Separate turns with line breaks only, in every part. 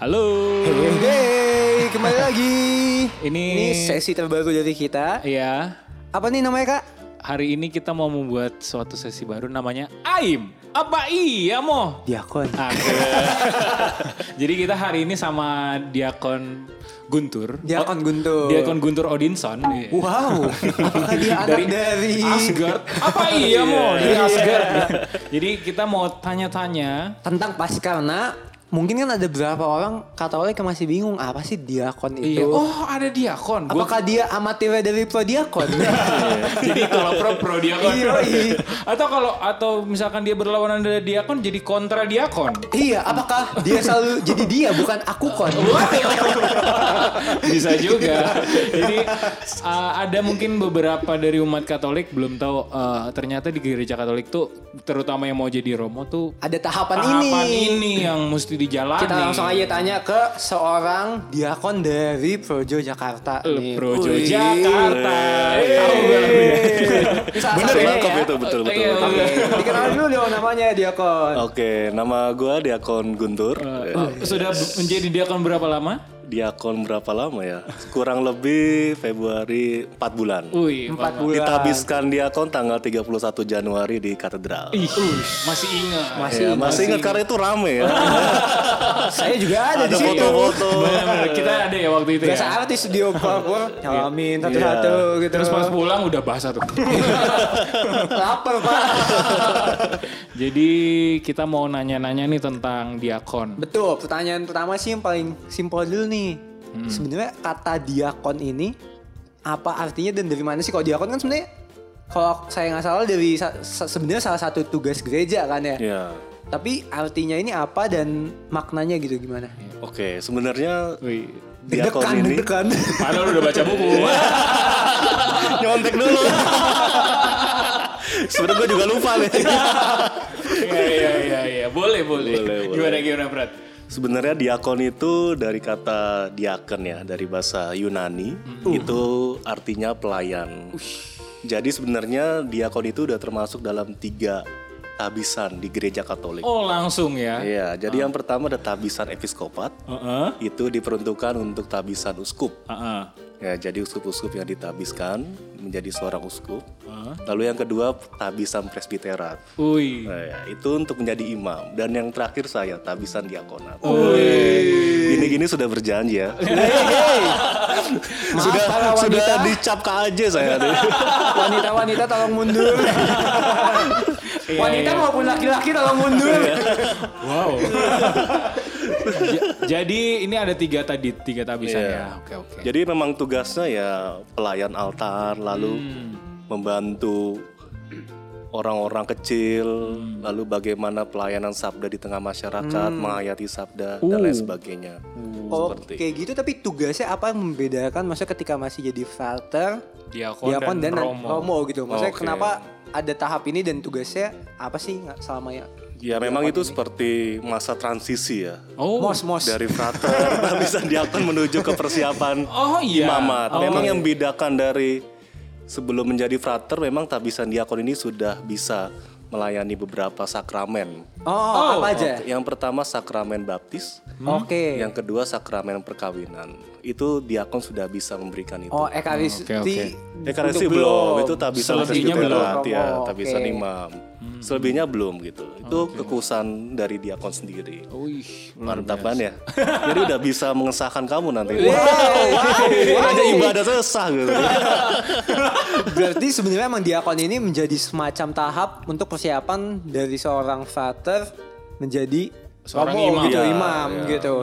Halo.
Hey, hey, kembali lagi.
Ini-
ini sesi terbaru dari kita.
Iya,
Apa nih namanya kak?
hari ini kita mau membuat suatu sesi baru namanya AIM. Apa iya mo?
Diakon.
Oke. Jadi kita hari ini sama Diakon Guntur.
Diakon Guntur.
Oh, Diakon Guntur Odinson. Iya.
Wow. Apakah dia anak dari?
Asgard. Apa iya mo? Dari
Iya.
Asgard. Jadi kita mau tanya-tanya
Tentang pas karena mungkin kan ada beberapa orang Katolik yang masih bingung apa sih diakon
Iya.
itu?
Oh ada Diakon. Gua-
Apakah dia amatir dari pro diakon?
jadi kalau pro pro diakon.
Iya, iya.
atau kalau atau misalkan dia berlawanan dengan diakon jadi kontra diakon.
iya, apakah dia selalu jadi dia bukan aku kon?
Bisa juga. Jadi uh, ada mungkin beberapa dari umat Katolik belum tahu uh, ternyata di gereja Katolik tuh terutama yang mau jadi romo tuh
Ada tahapan,
tahapan ini yang mesti dijalani.
Kita langsung aja tanya ke seorang diakon dari Projo Jakarta nih.
Projo
Wih.
Jakarta. Tahu gak?
Salah
Bener
satunya
lengkap
ya.
itu betul betul.
Iya,
betul.
iya.
Dikenalin dulu dong namanya diakon.
Oke, nama gua Diakon Guntur.
Uh, Sudah b- menjadi diakon berapa lama?
Diakon berapa lama ya? Kurang lebih Februari 4 bulan.
Wih,
Empat bulan.
Ditabiskan Diakon tanggal 31 Januari di katedral.
Ih, masih ingat.
Masih
Ya, masih ingat karena itu rame ya.
saya juga ada, di
Ada
situ.
foto-foto.
Benar, kita ada ya waktu itu
Biasa
ya.
artis studio Papua, nyalamin satu-satu gitu.
Terus pas pulang udah bahasa tuh.
lapar pak.
Jadi kita mau nanya-nanya nih tentang diakon.
Betul. Pertanyaan pertama sih yang paling simpel dulu nih.
Hmm.
Sebenarnya kata diakon ini apa artinya dan dari mana sih? Kalau diakon kan sebenarnya kalau saya nggak salah dari sa- sa- sebenarnya salah satu tugas gereja kan ya.
ya.
Tapi artinya ini apa dan maknanya gitu gimana?
Oke, sebenarnya
Wih.
Iya. Diakon
Deg-degan,
ini
deg-degan.
Padahal udah baca buku.
nyontek dulu. sebenarnya gua juga lupa nih.
Iya iya iya iya. Boleh boleh.
Boleh, boleh.
Gimana gimana Prat?
Sebenarnya diakon itu dari kata diaken ya, dari bahasa Yunani, itu artinya pelayan. Jadi sebenarnya diakon itu udah termasuk dalam tiga tabisan di gereja Katolik.
Oh langsung ya.
Iya, jadi yang pertama ada tabisan episkopat,
Heeh.
itu diperuntukkan untuk tabisan uskup.
Heeh.
Ya, jadi uskup-uskup yang ditabiskan menjadi seorang uskup. Lalu yang kedua tabisan presbiterat.
Ui.
Nah, ya, itu untuk menjadi imam dan yang terakhir saya tabisan diakonat. Gini-gini sudah berjanji ya. sudah
para wanita.
sudah dicap aja saya.
Wanita-wanita tolong mundur.
Iya,
Wanita maupun laki-laki tolong
Iya,
mundur.
Wow. Ja- Jadi ini ada tiga tadi tiga tabisan
Iya.
ya. Oke oke.
Jadi memang tugasnya ya pelayan altar lalu membantu orang-orang kecil lalu bagaimana pelayanan sabda di tengah masyarakat menghayati sabda dan lain sebagainya.
Oke gitu tapi tugasnya apa yang membedakan maksudnya ketika masih jadi frater,
Diakon,
diakon dan,
dan,
romo.
romo.
gitu. Maksudnya
Oke.
kenapa ada tahap ini dan tugasnya apa sih nggak selama ya?
Ya memang itu seperti masa transisi ya.
Oh.
Mos mos.
dari frater tabisan diakon menuju ke persiapan
Oh, iya.
imamat.
Oh.
Memang yang bedakan dari sebelum menjadi frater memang tabisan diakon ini sudah bisa melayani beberapa sakramen.
Oh, apa aja?
Yang pertama sakramen baptis,
Oke.
yang kedua sakramen perkawinan. Itu diakon sudah bisa memberikan itu.
Oh ekaristi.
Oke, oke.
Ekaristi
Oh, untuk
belum, itu tabisan
Selebihnya
presbiterat,
belum.
ya,
Oh,
tabisan
oke.
imam. Selebihnya belum gitu. Itu kekuasaan dari diakon sendiri.
Wih.
Mantap kan ya. Jadi udah bisa mengesahkan kamu nanti.
Wow.
Aja ibadah sesah gitu.
Berarti sebenarnya emang diakon ini menjadi semacam tahap untuk persiapan dari seorang frater menjadi
Seorang imam.
romo gitu,
Iya,
imam
iya.
gitu.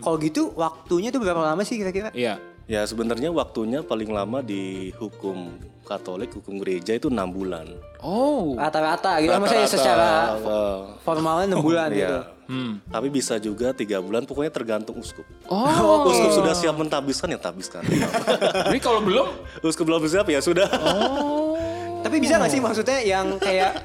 Kalau gitu waktunya tuh berapa lama sih kira-kira?
Iya.
ya sebenarnya waktunya paling lama di hukum Katolik, hukum gereja itu enam bulan.
Oh.
Rata-rata gitu. Maksudnya
Rata-rata,
secara
eh,
formalnya 6 bulan gitu.
ya. Tapi bisa juga tiga bulan, pokoknya tergantung uskup.
Oh.
Uskup sudah siap mentabiskan ya tabiskan.
Ini kalau belum.
uskup belum siap ya sudah.
Tapi bisa gak sih maksudnya yang kayak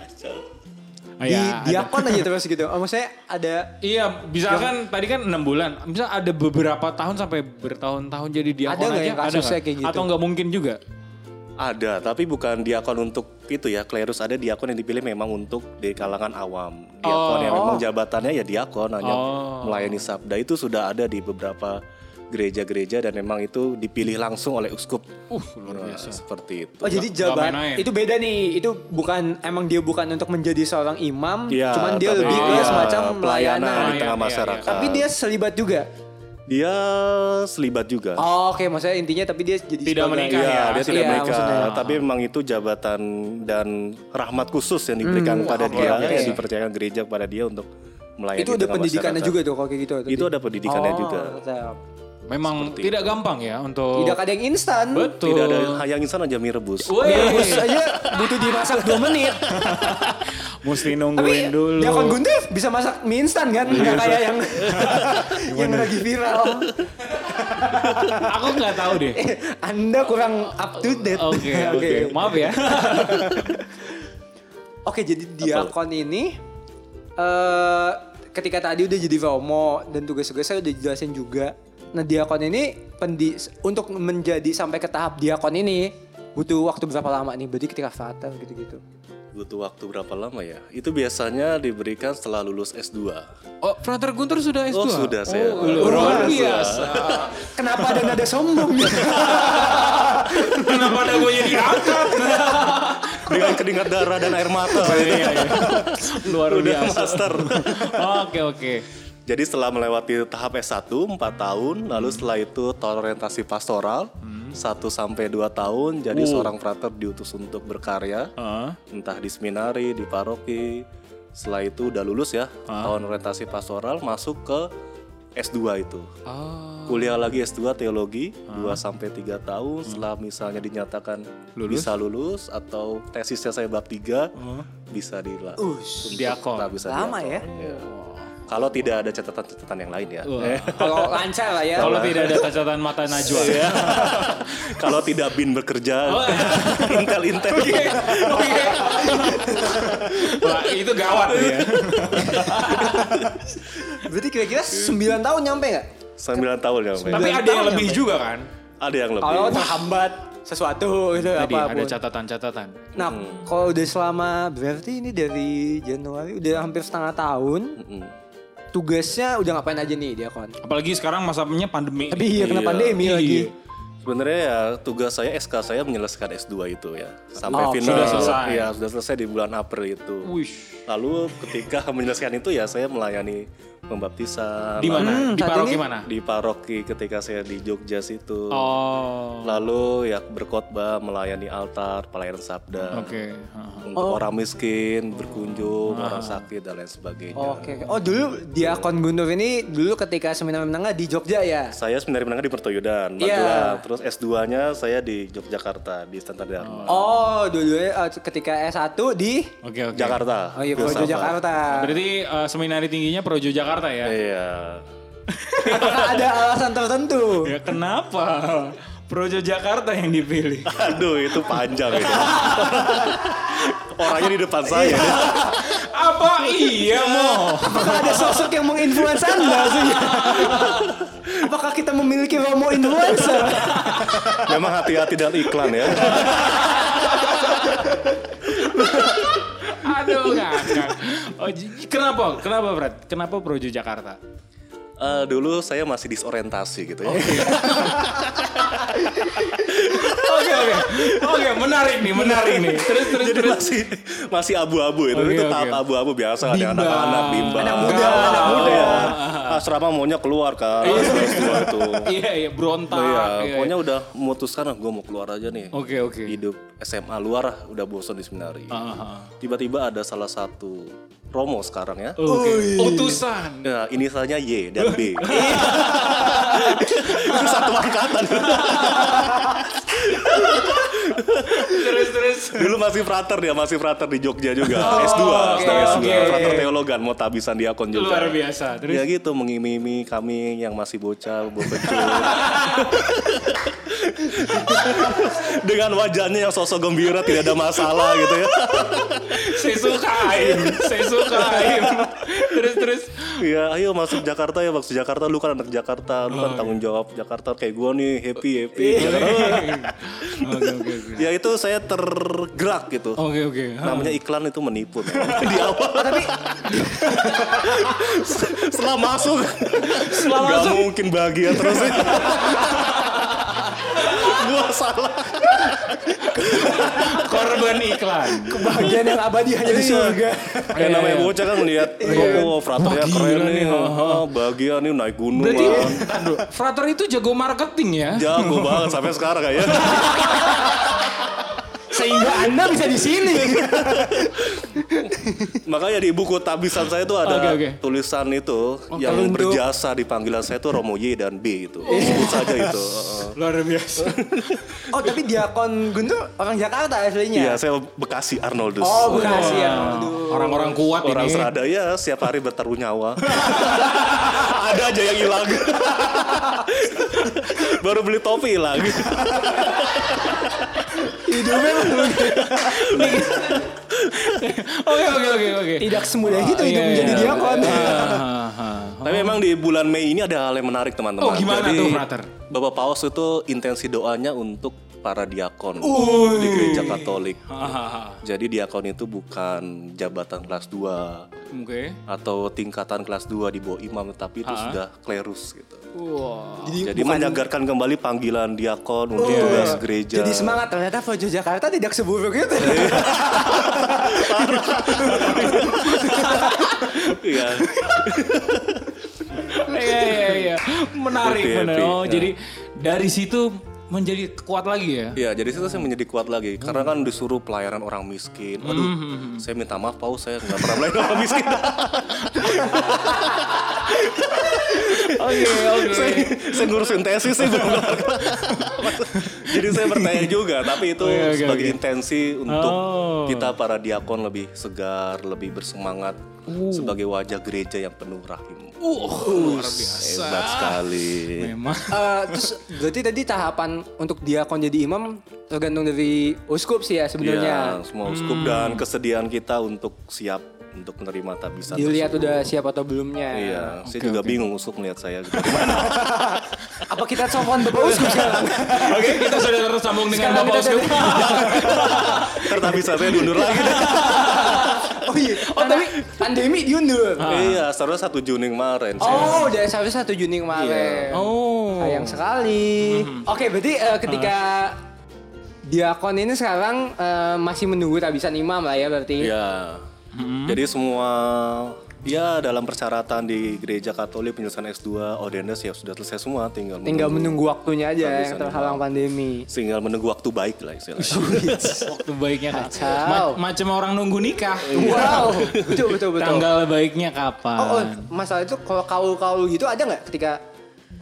Ah, ya,
di
ada-
diakon aja terus gitu? Oh, maksudnya ada
Iya, bisa kan tadi kan enam bulan. Bisa ada beberapa tahun sampai bertahun-tahun jadi diakon
Ada nggak
aja.
yang kasusnya
nggak?
kayak gitu?
Atau nggak mungkin juga?
Ada, tapi bukan diakon untuk itu ya, klerus ada diakon yang dipilih memang untuk di kalangan awam. Diakon yang memang jabatannya ya diakon, hanya
Oh.
melayani sabda itu sudah ada di beberapa gereja-gereja dan memang itu dipilih langsung oleh uskup.
Uh, luar biasa.
Nah, seperti itu.
Oh jadi
Nggak main-main.
jabatan itu beda nih. Itu bukan emang dia bukan untuk menjadi seorang imam,
Iya,
cuman dia
tapi
lebih ke
iya,
semacam
pelayanan
pelayanan.
di
Pelayan,
tengah
iya,
masyarakat.
Tapi dia selibat juga.
dia selibat juga.
Oh, Oke, maksudnya intinya tapi dia jadi
Tidak
sebagai-
menikah.
Iya,
ya,
dia tidak
iya,
menikah,
maksudnya.
tapi memang itu jabatan dan rahmat khusus yang diberikan
wah,
pada dia,
luar biasa.
yang dipercayakan gereja kepada dia untuk melayani.
Itu
di
udah
tengah
pendidikannya
gitu masyarakat.
juga tuh kalau kayak gitu.
Itu ada pendidikannya
Oh,
juga.
tetap.
Memang tidak gampang ya untuk
Tidak ada yang instan.
betul.
Tidak ada hayang insan aja mie rebus.
Woi,
Terus aja butuh dimasak 2 menit.
mesti
Tapi
nungguin dulu.
Diakon Gundif bisa masak mie instan kan? Nggak kayak yang yang lagi viral. Eh,
Aku nggak tahu deh.
Anda kurang up to date.
Oke, oke. Maaf ya.
Oke, jadi diakon ini eh ketika tadi udah jadi romo dan tugas-tugasnya udah dijelasin juga. Nah, diakon ini pendi untuk menjadi sampai ke tahap diakon ini butuh waktu berapa lama nih? Berarti ketika fatal gitu-gitu.
Butuh waktu berapa lama ya? Itu biasanya diberikan setelah lulus S2.
Oh, Frater Guntur sudah S2.
Oh, sudah saya.
Luar biasa.
Kenapa ada nada sombong?
Kenapa ada gue jadi angkat?
Dengan keringat darah dan air mata.
Luar
Udah
biasa.
master.
Oke, oke.
Jadi setelah melewati tahap S1 4 tahun, lalu setelah itu tahun orientasi pastoral 1 sampai 2 tahun jadi seorang frater diutus untuk berkarya,
Ah,
entah di seminari, di paroki. Setelah itu udah lulus ya, tahun orientasi pastoral masuk ke S2 itu.
ah,
Kuliah lagi S2 teologi 2 sampai 3 tahun setelah misalnya dinyatakan bisa lulus atau tesisnya saya bab 3 bisa dilakukan.
diakon.
bisa
Lama
dilakukan.
ya.
Iya. Kalau tidak ada catatan-catatan yang lain ya. Eh,
Kalau lancar lah ya.
Kalau tidak ada catatan mata Najwa.
Kalau tidak bin bekerja,
Iya. Oh,
intel intel.
Wah, itu gawat ya.
Berarti kira-kira 9 tahun nyampe nggak?
9 tahun ya, Mbak.
Tapi ada yang lebih juga kan?
Ada yang lebih.
Kalau terhambat sesuatu gitu
Tadi
apa
ada catatan-catatan.
Nah, kalau udah selama berarti ini dari Januari udah hampir setengah tahun.
Mm-mm.
Tugasnya udah ngapain aja nih diakon?
Apalagi sekarang masanya pandemi.
Tapi iya kena
Iya.
pandemi lagi.
Sebenarnya ya tugas saya SK saya menyelesaikan S2 itu ya. Sampai
Oh,
final.
sudah selesai.
Iya, sudah selesai di bulan April itu.
Wish.
Lalu ketika menyelesaikan itu ya saya melayani pembaptisan.
Di mana?
Hmm,
di
saat
paroki
ini-
mana?
Di paroki ketika saya di Jogja situ.
Oh.
Lalu ya berkhotbah, melayani altar, pelayanan sabda.
Oke. Ah.
Untuk orang miskin, berkunjung, orang sakit dan lain sebagainya.
Oke. oke. Oh dulu diakon Guntur ini dulu ketika seminar menengah di Jogja ya.
Saya sebenarnya menangnya di Pertoyodan,
Iya.
Magelang. Terus S2-nya saya di Yogyakarta, di Standar Dharma.
Oh dulu ketika S1 di
Oke, oke.
Jakarta.
Oh iya Projo
filsafat.
Jakarta.
Berarti eh, seminari tingginya Projo Jakarta ya?
Iya.
Apakah ada alasan tertentu?
Ya kenapa? Projo Jakarta yang dipilih.
Aduh, itu panjang itu. Orangnya di depan saya.
Iya.
Apa iya mau?
Apakah ada sosok yang menginfluence Anda sih? Apakah kita memiliki Romo influencer?
Memang hati-hati dalam iklan ya.
Aduh, ngakak. Oh, j- kenapa? Kenapa, Brad? Kenapa Projo Jakarta?
Eh, dulu saya masih disorientasi
Oh,
gitu ya.
iya.
Oke, oke. Oke, menarik nih, menarik nih. Terus, terus,
Jadi
terus.
masih masih
Oh,
abu-abu itu.
Oke,
itu
oke.
tahap abu-abu biasa ada
Bimbang.
anak-anak bimbang.
iya, Anak muda, anak
Galau.
muda. Iya.
Asrama maunya keluar kan. Keluar tuh.
Iya, iya, berontak.
Nah, iya,
iya,
pokoknya udah memutuskan ah, gue mau keluar aja nih.
Oke, oke.
Hidup SMA luar ah, udah bosan di seminari.
Ah, ah, ah.
Tiba-tiba ada salah satu Romo sekarang ya.
Oh,
Oke.
iya.
Utusan.
Nah, inisialnya Y dan B. Itu satu angkatan.
Terus, terus.
Dulu masih frater dia, masih frater di Jogja juga.
Oh,
S2, sebagai S2. Frater teologan, mau tabisan diakon juga.
Luar biasa. Terus.
Ya gitu, mengimimi kami yang masih bocah, bocah. Dengan wajahnya yang sosok gembira, tidak ada masalah gitu ya.
Saya suka sukain, saya sukain. terus terus
Iya, ayo masuk Jakarta ya, masuk Jakarta. Lu kan anak Jakarta, lu kan tanggung jawab Jakarta kayak gua nih, happy happy.
Oke oke oke.
ya itu saya tergerak gitu.
Oke oke.
Namanya iklan itu menipu. Di awal tapi setelah masuk setelah masuk mungkin bahagia terus. gua salah.
Korban iklan.
Kebahagiaan yang abadi hanya di
Iya.
surga.
Kayak namanya bocah kan ngeliat, oh, fraternya
Wah,
keren
gila
nih,
nih,
ah, ah, bahagia nih naik gunung.
Berarti
ah.
aduh, Frater itu jago marketing ya.
Jago banget sampai sekarang kayaknya.
Sehingga Anda bisa di sini.
Makanya di ibu kota tabisan saya tuh ada
Oke, oke. Oh,
tulisan itu yang
kalau untuk-
berjasa di panggilan saya tuh Romo Y dan B itu.
Iya.
Sebut saja itu. Heeh.
Luar biasa.
Oh, tapi Diakon Guntur orang Jakarta
Iya,
aslinya.
saya Bekasi Arnoldus.
Oh, Bekasi ya.
Orang-orang kuat
Orang
ini.
Serada ya setiap hari bertaruh nyawa. ada aja yang hilang. Baru beli topi hilang.
Oh.
Hidupnya memang
Oke oke oke oke.
tidak semudah itu hidup
Iya,
menjadi
iya.
diakon.
Ah, ah, ah.
Tapi emang di bulan Mei ini ada hal yang menarik teman-teman.
Oh, gimana tuh, Frater?
Bapak Paus itu intensi doanya untuk para diakon di gereja Katolik.
Ah,
Jadi diakon itu bukan jabatan kelas 2
Oke.
atau tingkatan kelas 2 di bawah imam, tapi itu sudah klerus gitu.
Wow.
Jadi menyagarkan kembali panggilan diakon untuk tugas
iya.
gereja.
eh, Jadi semangat ternyata Projo Jakarta tidak seburuk itu.
Iya.
Iya iya iya. Menarik
Happy,
benar.
happy.
Oh,
Ya.
jadi dari situ menjadi kuat lagi ya.
Iya, jadi itu saya menjadi kuat lagi karena kan disuruh pelayanan orang miskin. Aduh, saya minta maaf Paus, saya nggak pernah pelayanan orang miskin.
Oke oke.
saya, saya ngurusin tesis saya belum kelar. Jadi saya bertanya juga, tapi itu
Oh, iya, Oke, oke,
sebagai
oke.
intensi untuk
Oh.
kita para diakon lebih segar, lebih bersemangat sebagai wajah gereja yang penuh rahim.
Uh, luar biasa.
Hebat sekali.
Memang.
Eh, terus berarti tadi tahapan untuk diakon jadi imam tergantung dari uskup sih ya
Ya,
sebenarnya.
semua uskup
hmm.
dan kesediaan kita untuk siap untuk menerima tabisan.
Dilihat
tersebut.
udah siap atau
ya.
belumnya.
Iya, saya juga bingung uskup melihat saya. gitu.
Apa kita telepon Bapak Uskup sekarang?
Oke, kita sudah tersambung dengan
Sekarang
Bapak
kita
Uskup.
Ntar tabisan saya diundur lagi.
Oh iya. Ah. Oh, tapi pandemi diundur.
Ah.
Iya, seharusnya 1 Juni kemarin. saya.
Oh, udah sampai 1 Juni kemarin.
Oh.
Sayang sekali. Oke, berarti eh, ketika diakon ini sekarang eh, masih menunggu tabisan imam lah ya berarti.
Iya.
Hmm.
Jadi semua ya dalam persyaratan di gereja Katolik penyelesaian S2 Ordenes ya sudah selesai semua tinggal
Tinggal menunggu waktunya aja yang
Tabisan
terhalang pandemi.
tinggal menunggu waktu baik lah istilahnya.
Waktu baiknya kan.
Kacau.
Ma- macam orang nunggu nikah.
Wow, betul Oh. Iya, betul betul.
Tanggal baiknya kapan?
Oh, oh, masalah itu kalau kaul kaul gitu ada nggak ketika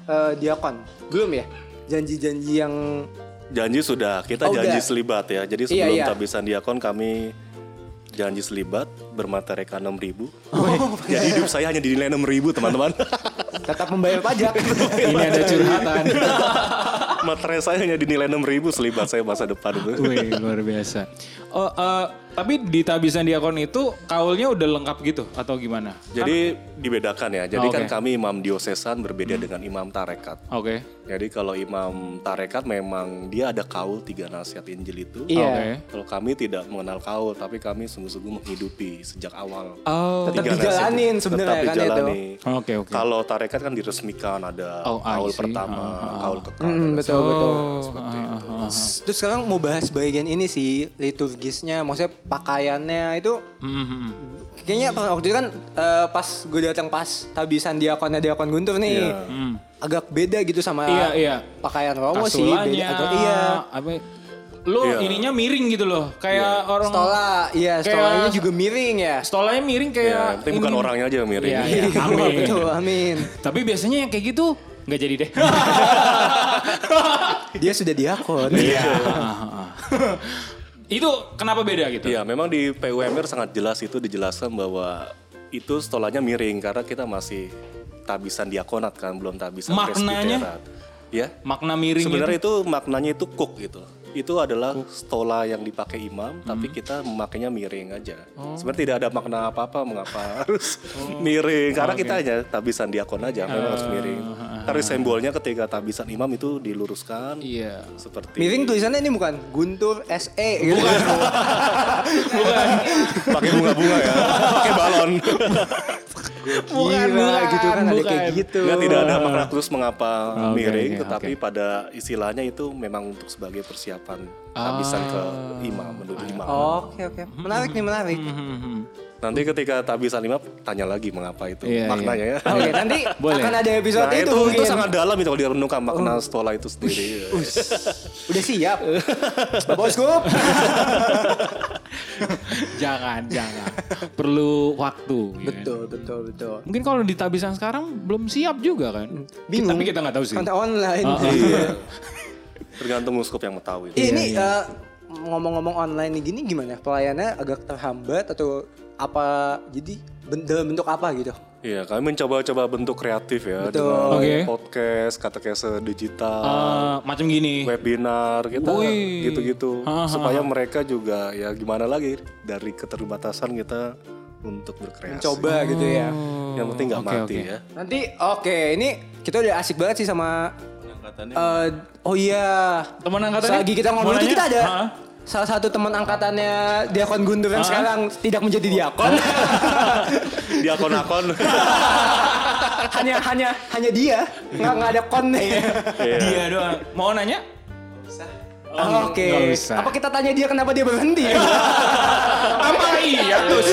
eh, diakon? Belum ya? Janji-janji yang
janji sudah, kita
Oh,
janji
udah.
selibat ya.
Iya,
Jadi sebelum
iya.
tabisan diakon kami janji selibat bermata reka 6000 ribu.
Oh.
Jadi hidup saya hanya dinilai 6000 ribu teman-teman.
tetap membayar pajak.
Ini ada curhatan.
Materai saya hanya dinilai 6000 ribu selibat saya masa depan itu.
Wih, luar biasa. Oh, eh, tapi di tabisan diakon itu kaulnya udah lengkap gitu atau gimana?
Jadi dibedakan ya. Jadi
Ah,
Oh,
kan
oke.
kami imam diosesan berbeda
Hmm.
dengan imam tarekat.
Oke.
Jadi kalau imam tarekat memang dia ada kaul tiga nasihat Injil itu.
Iya.
Oke.
Kalau kami tidak mengenal kaul, tapi kami sungguh-sungguh menghidupi sejak awal.
Oh.
Tetap
Tiga nasihat
dijalanin
itu
sebenarnya
tetap
kan itu.
dijalani.
Oke, oke.
Kalau tarekat kan diresmikan ada
Oh, I see.
kaul
ah.
pertama, kaul kekal. Ya,
Hmm,
dan
betul betul.
Oh, ah, ah, ah.
Terus sekarang mau bahas bagian ini sih liturgisnya, maksudnya pakaiannya itu
Hmm, hmm, hmm.
kayaknya pas- waktu itu kan eh, pas gue datang pas tabisan diakonnya diakon Guntur nih.
Iya.
Agak beda gitu sama
Hmm. Iya, iya.
pakaian Romo sih.
Kasulannya.
Oh, Beda, agak, iya.
Apa? Lo
Iya.
ininya miring gitu loh, kayak orang
Stola, iya,
Kayak-
stolanya juga miring ya.
Stolanya miring
Ya,
kayak
yang penting bukan
ini.
orangnya aja yang miring.
Iya, iya. Amin.
Betul, amin.
Tapi biasanya yang kayak gitu nggak jadi deh.
Dia sudah diakon.
Iya. itu kenapa beda gitu?
Iya, memang di PUMR sangat jelas itu dijelaskan bahwa itu stolanya miring karena kita masih tabisan diakonat kan, belum tabisan
Maknanya?
presbiterat. Ya,
Makna miring
Sebenarnya itu maknanya itu cook gitu. itu adalah stola yang dipakai
Hmm.
imam, tapi kita memakainya miring aja.
Oh.
Sebenarnya tidak ada makna apa-apa mengapa harus miring,
Oh,
karena kita hanya tabisan diakon aja,
Ah,
memang harus miring. Tapi simbolnya ketika tabisan imam itu diluruskan,
Iya.
seperti
Miring tulisannya ini bukan Guntur SE gitu.
Bukan.
pakai bunga-bunga ya, pakai balon.
Bukan, gitu kan ada kayak
bukan.
gitu.
Nggak, tidak ada makna khusus mengapa
oke,
miring,
oke,
tetapi pada istilahnya itu memang untuk sebagai persiapan
Ah.
tabisan ke imam menuju
Oh,
imam.
Oke oke. Menarik nih
Hmm,
menarik.
Nanti ketika tabisan imam tanya lagi mengapa itu
Iya,
maknanya ya.
Oke, nanti
Boleh.
akan ada episode
Nah,
itu,
itu, itu
mungkin.
sangat dalam itu kalau
Oh.
direnungkan makna stola itu sendiri. Iya,
Udah siap. Bapak Uskup.
jangan, jangan. Perlu waktu. ya kan?
betul, betul, betul.
Mungkin kalau di tabisan sekarang belum siap juga kan.
Hmm, Bingung. Kan-
Tapi kita nggak tahu sih.
Konten online.
Iya. Tergantung uskup yang mengetahui.
Iya, ini eh, ngomong-ngomong online nih gini gimana? Pelayannya agak terhambat atau apa? Jadi ben- dalam bentuk apa gitu?
Iya, kami mencoba-coba bentuk kreatif ya
Betul.
dengan
Oke.
podcast, katekese digital,
Eh, macam gini.
webinar kita
Wih.
gitu-gitu
Ha, ha,
supaya mereka juga ya gimana lagi dari keterbatasan kita untuk berkreasi.
Coba gitu ya.
Yang penting nggak
oke,
mati
oke.
ya.
Nanti oke, ini kita udah asik banget sih sama eh, oh iya.
Teman angkatannya?
Lagi kita ngomong
Mau nanya?
itu kita ada
Ha-ha.
salah satu teman angkatannya Diakon Guntur yang sekarang tidak menjadi diakon.
Di akun-akun.
hanya hanya hanya dia, nggak nggak ada kon
Iya.
Iya.
Dia doang. Mau nanya?
Oh, Oke.
nggak usah.
Apa kita tanya dia kenapa dia berhenti? Apa iya tuh?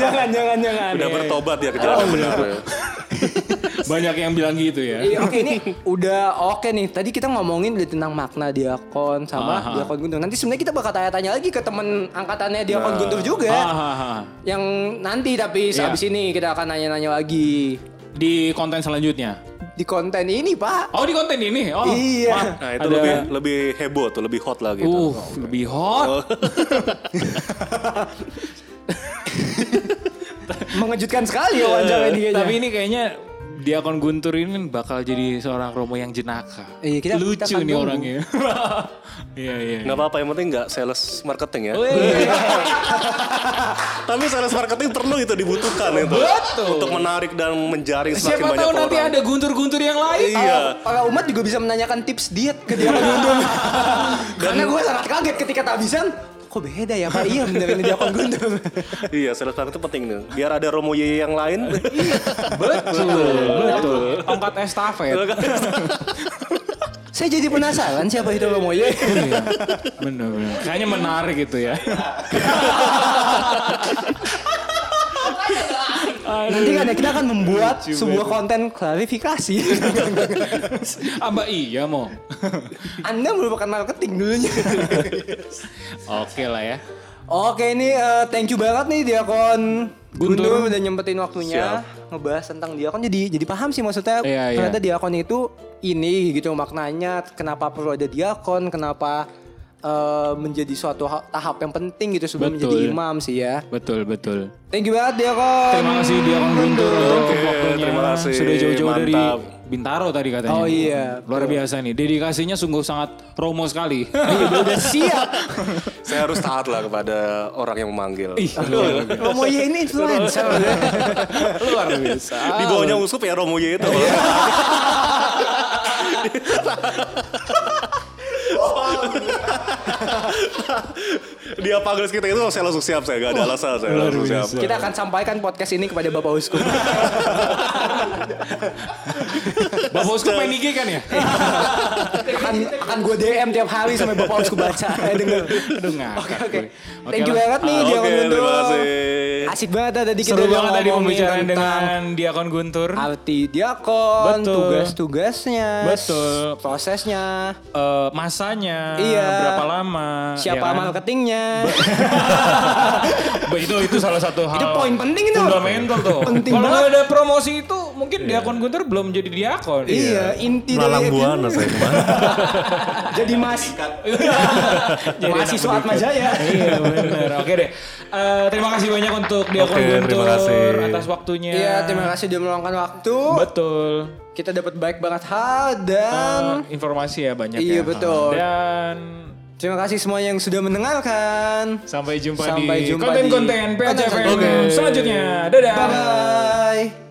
jangan jangan jangan.
Udah bertobat
Oh,
ya ke jalan yang benar ya.
Banyak yang bilang gitu ya.
Iya, oke ini udah oke nih. Tadi kita ngomongin udah tentang makna diakon sama
Aha.
diakon Guntur. Nanti sebenarnya kita bakal tanya-tanya lagi ke temen angkatannya diakon Guntur juga.
Ah, Hahaha.
Yang nanti
Nah.
tapi
Iya.
habis ini kita akan nanya-nanya lagi
Di konten selanjutnya.
di konten ini, Pak.
Oh di konten ini? Oh,
Iya.
maaf.
Nah, itu
Ada-
lebih lebih heboh tuh, lebih hot lah gitu.
Uh, lebih hot.
Oh. Mengejutkan sekali wawancara ini kayaknya.
Iya. Eh, Tapi ini kayaknya Diakon Guntur ini bakal jadi seorang Romo yang jenaka.
Iya, kita-
Lucu
kita akan
nih
tunggu.
orangnya. Iya, iya.
Nggak apa-apa, yang penting nggak sales marketing ya.
Wih,
Tapi sales marketing perlu itu dibutuhkan itu.
Betul.
Untuk menarik dan menjaring
Eh,
semakin
Siapa
banyak
tahu
orang.
nanti ada guntur-guntur yang lain.
Iya.
Para umat juga bisa menanyakan tips diet ke Diakon Guntur. Karena gue sangat kaget ketika kehabisan. Kok beda ya Pak? Iya bener ini Diakon Guntur.
Iya, sales marketing penting nih. Biar ada Romo Yeye yang lain.
Betul, betul. Tongkat estafet.
kan?
Saya jadi penasaran siapa itu Romo Ye.
bener, bener. Iya. Kayaknya menarik itu ya.
Nanti kan ya, kita akan membuat sebuah konten klarifikasi.
Aba iya mau.
Anda merupakan marketing dulunya.
Oke lah ya.
Oke ini eh, thank you banget nih Diakon
Guntur.
Guntur udah nyempetin waktunya ngebahas tentang Diakon jadi jadi paham sih maksudnya
Iya, iya.
ternyata Diakon itu ini gitu maknanya kenapa perlu ada Diakon kenapa eh, menjadi suatu ha- tahap yang penting gitu sebelum
Betul.
menjadi imam sih ya.
Betul, betul.
Thank you banget Diakon.
Terima kasih Diakon Guntur untuk waktunya.
terima kasih.
Sudah jauh-jauh dari
Mantap.
Bintaro tadi katanya.
Oh iya,
Luar biasa nih. Dedikasinya sungguh sangat Romo sekali.
Iya, udah siap.
Saya harus taat lah kepada orang yang memanggil.
Romo Ye iya ini influencer.
Luar biasa.
Di bawahnya usup ya Romo Yeye itu. Dia panggil kita itu saya langsung siap saya gak ada
Oh,
alasan saya langsung siap.
Kita akan sampaikan podcast ini kepada Bapak Uskup.
Bapak Uskup main IG kan ya?
Iya.
akan akan gue DM tiap hari sampai Bapak Uskup baca. Eh, denger.
Aduh ngakak.
Oke,
gue.
oke.
Oke
Thank you
lah.
banget nih
Ah,
Diakon
Oke,
Guntur.
terima kasih.
Asik banget ya, tadi kita
Seru
udah
banget tadi
ngomongin
pembicaraan
tentang
dengan eh, Diakon Guntur.
arti diakon,
Betul.
tugas-tugasnya,
Betul.
prosesnya,
Eh, masanya,
Iya.
berapa lama. ya
siapa
kan?
marketingnya.
Bah, itu itu salah satu hal.
Itu poin penting itu.
Fundamental tuh.
Penting
Kalau
banget.
nggak ada promosi itu mungkin
Iya.
Diakon Guntur belum jadi Diakon.
Iya, inti
Malang
dari
buana saya kemarin.
jadi mas
Jadi
mahasiswa
anak
Atma Jaya.
iya benar. Oke deh. Eh, terima kasih banyak untuk Diakon
Oke, terima
Guntur
kasih.
atas waktunya.
Iya, terima kasih udah meluangkan waktu.
Betul.
Kita dapat baik banget. Ha dan
Eh, informasi ya banyak
Um, Iya,
ya.
betul.
Dan
terima kasih semua yang sudah mendengarkan.
sampai jumpa
Sampai
di
jumpa di-
konten-konten PHFM
Oke.
selanjutnya. Dadah.
Bye bye.